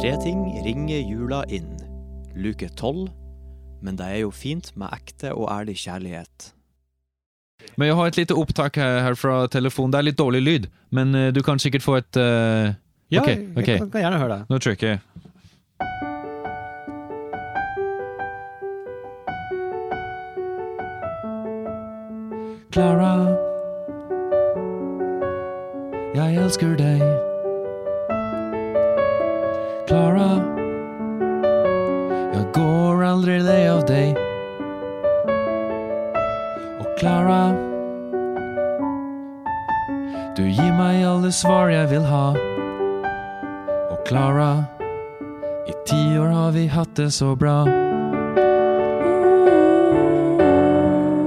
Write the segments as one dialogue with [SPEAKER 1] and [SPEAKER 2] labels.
[SPEAKER 1] Tre ting ringer jula inn. Luke tolv. Men det er jo fint med ekte og ærlig kjærlighet.
[SPEAKER 2] Men jeg har et lite opptak her, her fra telefonen. Det er litt dårlig lyd, men eh, du kan sikkert få et eh, Ok, ok.
[SPEAKER 1] jeg kan, kan gjerne høre det.
[SPEAKER 2] Nå trykker jeg. Clara, jeg elsker deg. Clara, jeg går aldri lei av deg. Og Clara, du gir meg alle svar jeg vil ha. Og Clara, i ti år har vi hatt det så bra.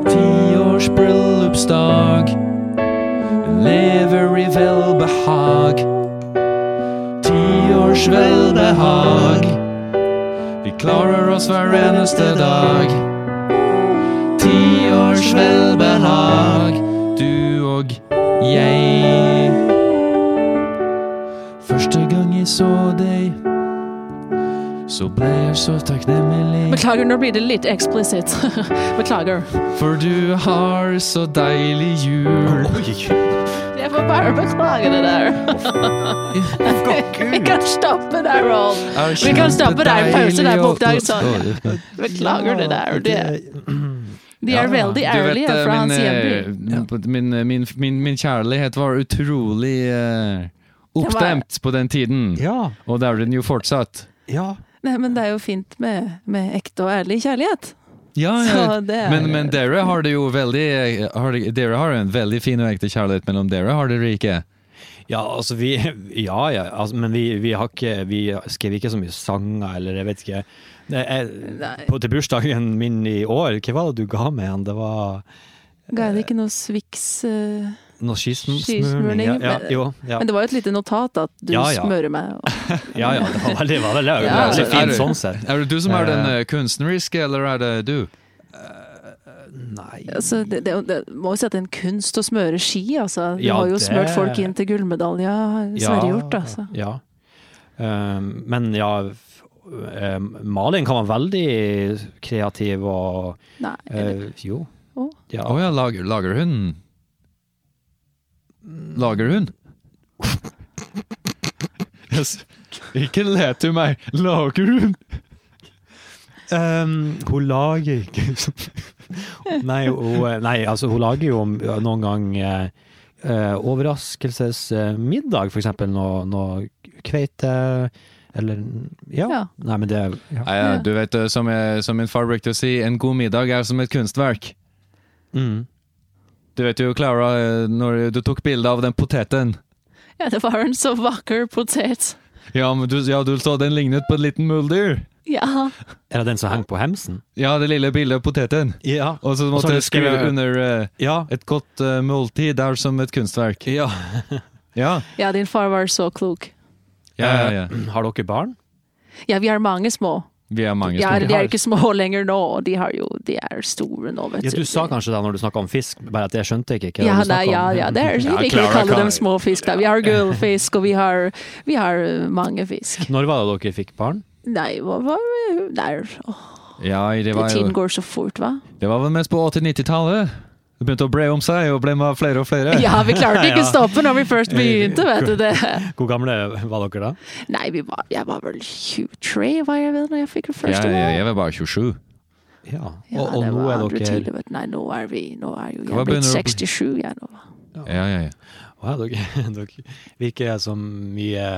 [SPEAKER 2] Ti års bryllupsdag, vi lever i velbehag. Ti års velbehag, vi klarer oss hver eneste dag. Ti års velbehag, du og jeg. Første gang jeg så deg, så ble jeg så takknemlig.
[SPEAKER 3] Beklager, nå blir det litt explicit. Beklager.
[SPEAKER 2] For du har så deilig jul.
[SPEAKER 3] Jeg får bare beklage det der. Vi kan stoppe der, Roll. Vi kan stoppe der, pause der på oppdragsdagen. Beklager det der. Det, de er veldig ærlige
[SPEAKER 1] eh,
[SPEAKER 3] fra hans hjemby.
[SPEAKER 2] hjemby. eh, Min, eh, min, min, min kjærlighet var utrolig eh,
[SPEAKER 3] var-
[SPEAKER 2] oppstemt på den tiden.
[SPEAKER 1] Ja,
[SPEAKER 2] Og det er den jo fortsatt.
[SPEAKER 1] ja.
[SPEAKER 3] Nei, men det er jo fint med, med ekte og ærlig kjærlighet.
[SPEAKER 2] Ja,
[SPEAKER 3] Så det er-
[SPEAKER 2] men, men dere har det jo veldig eh, har, det- Dere har en veldig fin og ekte kjærlighet mellom dere, har dere ikke?
[SPEAKER 1] Ja, altså vi Ja, ja, altså, men vi, vi har ikke Vi skrev ikke så mye sanger, eller jeg vet ikke. Det er-
[SPEAKER 3] Nei.
[SPEAKER 1] på, til bursdagen min i år, hva var det du ga meg igjen? Det var
[SPEAKER 3] Ga det ikke noe sviks eh,
[SPEAKER 1] noe skismurning?
[SPEAKER 3] Skismurning,
[SPEAKER 1] Ja, ja,
[SPEAKER 3] men-
[SPEAKER 1] jo, ja.
[SPEAKER 3] Men det var jo et lite notat at du
[SPEAKER 1] Ja, ja.
[SPEAKER 3] smører meg. og-
[SPEAKER 1] ja, ja, det var veldig, veldig, veldig,
[SPEAKER 3] Ja,
[SPEAKER 1] veldig
[SPEAKER 3] altså,
[SPEAKER 2] er
[SPEAKER 1] fint
[SPEAKER 2] det-
[SPEAKER 1] sånn sett.
[SPEAKER 2] Er det du som er den
[SPEAKER 1] Eh.
[SPEAKER 2] eh, kunstneriske, eller er det du?
[SPEAKER 1] Nei
[SPEAKER 3] Altså, det, det, det må jo si at det er en kunst å smøre ski, altså. Du
[SPEAKER 1] Ja,
[SPEAKER 3] har jo
[SPEAKER 1] det-
[SPEAKER 3] smørt folk inn til gullmedalje, har Sverre gjort, altså.
[SPEAKER 1] Ja. Ehm, men ja, f- ehm, maling kan være veldig kreativ og
[SPEAKER 3] Nei. eller-
[SPEAKER 1] eh, Jo.
[SPEAKER 3] Å.
[SPEAKER 1] Ja.
[SPEAKER 2] Å ja, lager, lager hun Lager hun? Yes. Ikke let du meg Lager hun?
[SPEAKER 1] Ehm, hun lager ikke nei, hun, nei, altså hun lager jo noen gang eh, eh, overraskelsesmiddag, for eksempel noe, noe kveite Eller ja.
[SPEAKER 3] Ja.
[SPEAKER 1] Nei, men det ja.
[SPEAKER 2] Ja, ja, du vet, eh, som, jeg, som min far brukte å si, en god middag er som et kunstverk.
[SPEAKER 1] Mm.
[SPEAKER 2] Du vet jo, Clara, eh, når du tok bilde av den poteten
[SPEAKER 3] Ja, det var en så vakker potet.
[SPEAKER 2] Ja, men du, ja, du så den lignet på et liten muldyr.
[SPEAKER 3] Ja.
[SPEAKER 1] Er det den som henger på hemsen?
[SPEAKER 2] Ja, det lille bildet av poteten.
[SPEAKER 1] Ja.
[SPEAKER 2] Og så måtte
[SPEAKER 1] har du
[SPEAKER 2] jeg skrive
[SPEAKER 1] skrevet-
[SPEAKER 2] under eh,
[SPEAKER 1] Ja.
[SPEAKER 2] Et godt eh, måltid er som et kunstverk.
[SPEAKER 1] ja.
[SPEAKER 2] Ja,
[SPEAKER 3] ja, din far var så klok.
[SPEAKER 2] ja, ja. ja.
[SPEAKER 1] Ehm, Har dere barn?
[SPEAKER 3] Ja, vi er mange små.
[SPEAKER 2] Vi er mange
[SPEAKER 3] Ja,
[SPEAKER 2] små.
[SPEAKER 3] de er ikke små lenger nå, og de, har jo, de er store nå, vet
[SPEAKER 1] Ja, du sa kanskje det når du snakka om fisk, bare at jeg skjønte ikke hva
[SPEAKER 3] ja,
[SPEAKER 1] du
[SPEAKER 3] nei,
[SPEAKER 1] snakket om.
[SPEAKER 3] ja, ja, det er
[SPEAKER 2] Ja,
[SPEAKER 3] vi ikke
[SPEAKER 2] Clara
[SPEAKER 3] kalle
[SPEAKER 2] kan-
[SPEAKER 3] dem små fisk. Da. Vi har gullfisk, og vi har, vi har eh, mange fisk.
[SPEAKER 1] Når var det dere fikk barn?
[SPEAKER 3] Nei, hva var det der? Åh,
[SPEAKER 2] Ja, det var
[SPEAKER 3] tiden
[SPEAKER 2] jo
[SPEAKER 3] går så fort, hva?
[SPEAKER 2] Det var vel mest på 80-90-tallet. Det begynte å bre om seg og ble med flere og flere.
[SPEAKER 3] Ja, vi klarte ikke
[SPEAKER 1] Ja.
[SPEAKER 3] å stoppe når vi først begynte, vet du det.
[SPEAKER 1] Hvor gamle var dere da?
[SPEAKER 3] Nei, vi var, jeg var vel 23, var jeg vel, når jeg fikk det
[SPEAKER 2] Ja,
[SPEAKER 3] første
[SPEAKER 2] jeg,
[SPEAKER 3] barn.
[SPEAKER 2] jeg var bare 27.
[SPEAKER 1] Ja,
[SPEAKER 3] Ja,
[SPEAKER 1] og, og
[SPEAKER 3] det
[SPEAKER 1] nå
[SPEAKER 3] var
[SPEAKER 1] er
[SPEAKER 3] andre
[SPEAKER 1] dere
[SPEAKER 3] tider, vet du. Nei, nå er vi nå er jo,
[SPEAKER 2] Hva
[SPEAKER 3] Jeg er blitt
[SPEAKER 2] begynner du å bli?
[SPEAKER 3] 67, jeg nå.
[SPEAKER 2] Ja, ja, ja.
[SPEAKER 1] Å ja, dere, dere virker som mye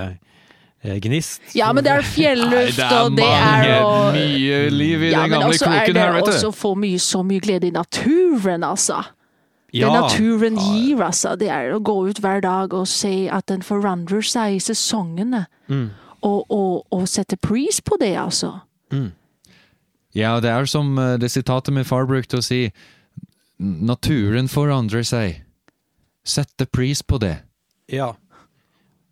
[SPEAKER 1] eh, gnist.
[SPEAKER 3] Ja, men det er fjelluft, og det er å
[SPEAKER 2] mye liv i
[SPEAKER 3] ja,
[SPEAKER 2] den
[SPEAKER 3] men
[SPEAKER 2] gamle
[SPEAKER 3] også er
[SPEAKER 2] kroken
[SPEAKER 3] det
[SPEAKER 2] her, vet
[SPEAKER 3] også
[SPEAKER 2] du.
[SPEAKER 3] for mye, så mye glede i naturen, altså.
[SPEAKER 1] Ja.
[SPEAKER 3] Det naturen gir, altså. Det er å gå ut hver dag og se at den forandrer seg i sesongene.
[SPEAKER 2] Mm.
[SPEAKER 3] Og, og, og sette pris på det, altså.
[SPEAKER 2] Ja, det er som eh, det sitatet min far brukte å si. Naturen forandrer seg. Sette pris på det.
[SPEAKER 1] Ja.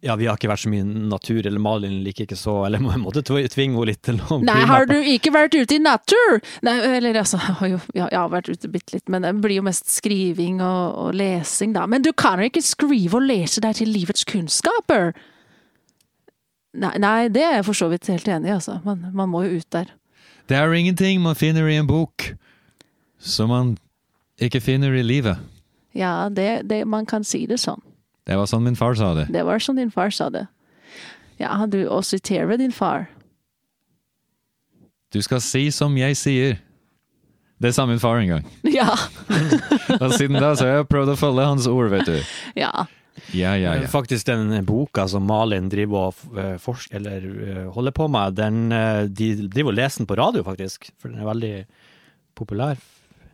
[SPEAKER 1] ja, vi har ikke vært så mye natur, eller Malin liker ikke så Eller jeg måtte tv- tvinge henne litt til å
[SPEAKER 3] Nei, har du ikke vært ute i natur? Nei, eller altså, jeg har jo ja, jeg har vært ute bitte litt, men det blir jo mest skriving og, og lesing, da. Men du kan jo ikke skrive og lese deg til livets kunnskaper. Nei, nei, det er jeg for så vidt helt enig i, altså. Man, man må jo ut der.
[SPEAKER 2] Det er ingenting man finner i en bok som man ikke finner i livet.
[SPEAKER 3] Ja, det, det, man kan si det sånn.
[SPEAKER 2] Det var sånn min far sa det.
[SPEAKER 3] Det var sånn din far sa det. Ja, du å sitere din far.
[SPEAKER 2] Du skal si som jeg sier. Det sa min far en gang.
[SPEAKER 3] Ja.
[SPEAKER 2] Og siden da så har jeg prøvd å følge hans ord, vet du.
[SPEAKER 3] ja.
[SPEAKER 2] Ja, ja, ja.
[SPEAKER 1] Faktisk den eh, boka som Malin driver og forsker, eller eh, holder på med, den, eh, de driver og leser den på radio, faktisk. For den er veldig populær.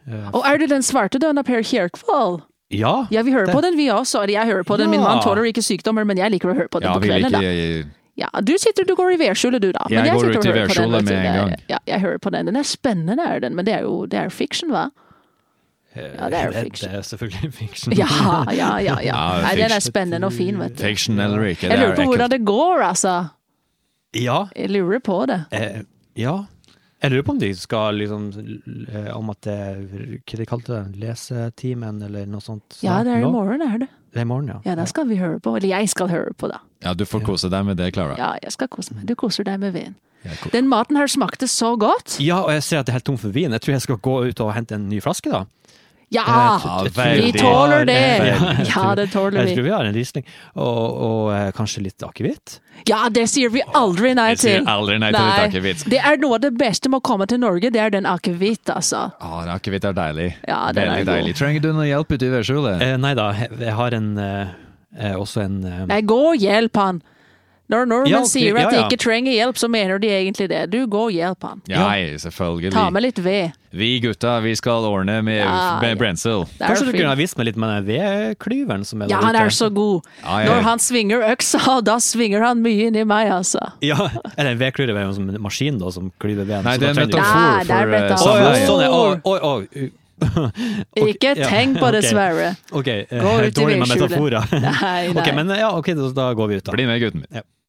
[SPEAKER 1] Eh,
[SPEAKER 3] Og er det den svarte døden av Per Kjerkvold?
[SPEAKER 1] Ja.
[SPEAKER 3] ja, vi hører på den vi også. Jeg hører på den, min mann tåler ikke sykdommer, men jeg liker å høre på den
[SPEAKER 2] Ja,
[SPEAKER 3] på
[SPEAKER 2] vi vil
[SPEAKER 3] kvelden.
[SPEAKER 2] ikke
[SPEAKER 3] da. Ja, du sitter, du går i vedskjole du da.
[SPEAKER 2] Jeg går
[SPEAKER 3] sitter
[SPEAKER 2] ut
[SPEAKER 3] og
[SPEAKER 2] i
[SPEAKER 3] hører på den,
[SPEAKER 2] vedskjole
[SPEAKER 3] vet du.
[SPEAKER 2] med en
[SPEAKER 3] Det er-
[SPEAKER 2] gang.
[SPEAKER 3] Ja, jeg hører på den. Den er spennende, er den, men det er jo det er fiction, hva? Ja, det er jo fiction.
[SPEAKER 1] Eh, Det er selvfølgelig fiction.
[SPEAKER 3] Ja, ja, ja. ja.
[SPEAKER 2] Ja,
[SPEAKER 3] Nei, den er
[SPEAKER 2] fiction.
[SPEAKER 3] spennende og fin, vet du.
[SPEAKER 2] Fiction eller ikke.
[SPEAKER 3] Jeg
[SPEAKER 2] det er
[SPEAKER 3] lurer på
[SPEAKER 2] ekkelt.
[SPEAKER 3] hvordan det går, altså.
[SPEAKER 1] Ja.
[SPEAKER 3] Jeg lurer på det.
[SPEAKER 1] Eh, ja. Jeg lurer på om de skal liksom eh, Om at det Hva de kalte det? Lesetimen, eller noe sånt?
[SPEAKER 3] Ja,
[SPEAKER 1] snart
[SPEAKER 3] det er i
[SPEAKER 1] nå?
[SPEAKER 3] morgen, er det.
[SPEAKER 1] Det er i morgen, ja.
[SPEAKER 3] Ja, da skal vi høre på. Eller jeg skal høre på, da.
[SPEAKER 2] Ja, du får kose deg med det, Klara.
[SPEAKER 3] Ja, jeg skal kose meg. Du koser deg med veden.
[SPEAKER 2] Jeg ko-
[SPEAKER 3] Den maten her smakte så godt.
[SPEAKER 1] Ja, og jeg ser at det er helt tomt for vin. Jeg tror jeg skal gå ut og hente en ny flaske, da.
[SPEAKER 3] Ja!
[SPEAKER 1] Ja,
[SPEAKER 3] Vi
[SPEAKER 1] veldig.
[SPEAKER 3] tåler det!
[SPEAKER 1] Veldig.
[SPEAKER 3] Ja, det tåler
[SPEAKER 1] Jeg
[SPEAKER 3] vi.
[SPEAKER 1] tror vi har en Riesling, og, og eh, kanskje litt akevitt.
[SPEAKER 3] Ja, det sier vi aldri nei
[SPEAKER 2] Jeg sier
[SPEAKER 3] til!
[SPEAKER 2] aldri nei til et
[SPEAKER 3] Nei.
[SPEAKER 2] akevitt.
[SPEAKER 3] Det er noe av det beste med å komme til Norge, det er den akevitt, altså.
[SPEAKER 2] Å, en akevitt er deilig.
[SPEAKER 3] Ja, den er
[SPEAKER 2] Veldig
[SPEAKER 3] god.
[SPEAKER 2] deilig. Trenger du noe hjelp ute i vedskjulet?
[SPEAKER 1] Eh, nei da, jeg jeg har en eh, eh, også en eh,
[SPEAKER 3] Nei, gå og hjelp han! Når nordmenn
[SPEAKER 1] Ja, ok,
[SPEAKER 3] sier at
[SPEAKER 1] ja, ja.
[SPEAKER 3] de ikke trenger hjelp, så mener de egentlig det. Du, gå og hjelp han.
[SPEAKER 2] Ja, nei, selvfølgelig.
[SPEAKER 3] Ta med litt ved.
[SPEAKER 2] Vi gutta, vi skal ordne med,
[SPEAKER 3] Ja,
[SPEAKER 2] med
[SPEAKER 3] ja.
[SPEAKER 2] brensel.
[SPEAKER 3] Det er
[SPEAKER 1] Kanskje du
[SPEAKER 3] fint.
[SPEAKER 1] kunne ha vist meg litt med den vedklyveren som er
[SPEAKER 3] Ja,
[SPEAKER 1] der
[SPEAKER 3] han
[SPEAKER 1] ute?
[SPEAKER 3] er så god.
[SPEAKER 2] Ja, ja, ja.
[SPEAKER 3] Når han svinger øksa, da svinger han mye inni meg, altså.
[SPEAKER 1] Ja, eller en vedklyver er jo som en maskin da, som klyver ved.
[SPEAKER 2] Nei, det er en
[SPEAKER 3] Ja,
[SPEAKER 2] metafor
[SPEAKER 3] det
[SPEAKER 2] for
[SPEAKER 3] er
[SPEAKER 2] eh,
[SPEAKER 3] metafor.
[SPEAKER 1] Å, ja,
[SPEAKER 2] samleie.
[SPEAKER 1] sånn er Oi, oi, oi. Ok,
[SPEAKER 3] Ikke
[SPEAKER 1] ja,
[SPEAKER 3] tenk på det,
[SPEAKER 1] ok.
[SPEAKER 3] Sverre.
[SPEAKER 1] Ok, eh,
[SPEAKER 3] Gå ut i
[SPEAKER 1] dårlig med
[SPEAKER 3] vedskjulet.
[SPEAKER 1] metaforer.
[SPEAKER 3] Nei, nei.
[SPEAKER 1] Ok, men ja, ok, da, da går vi ut da.
[SPEAKER 2] Bli med, gutten min.
[SPEAKER 1] Ja.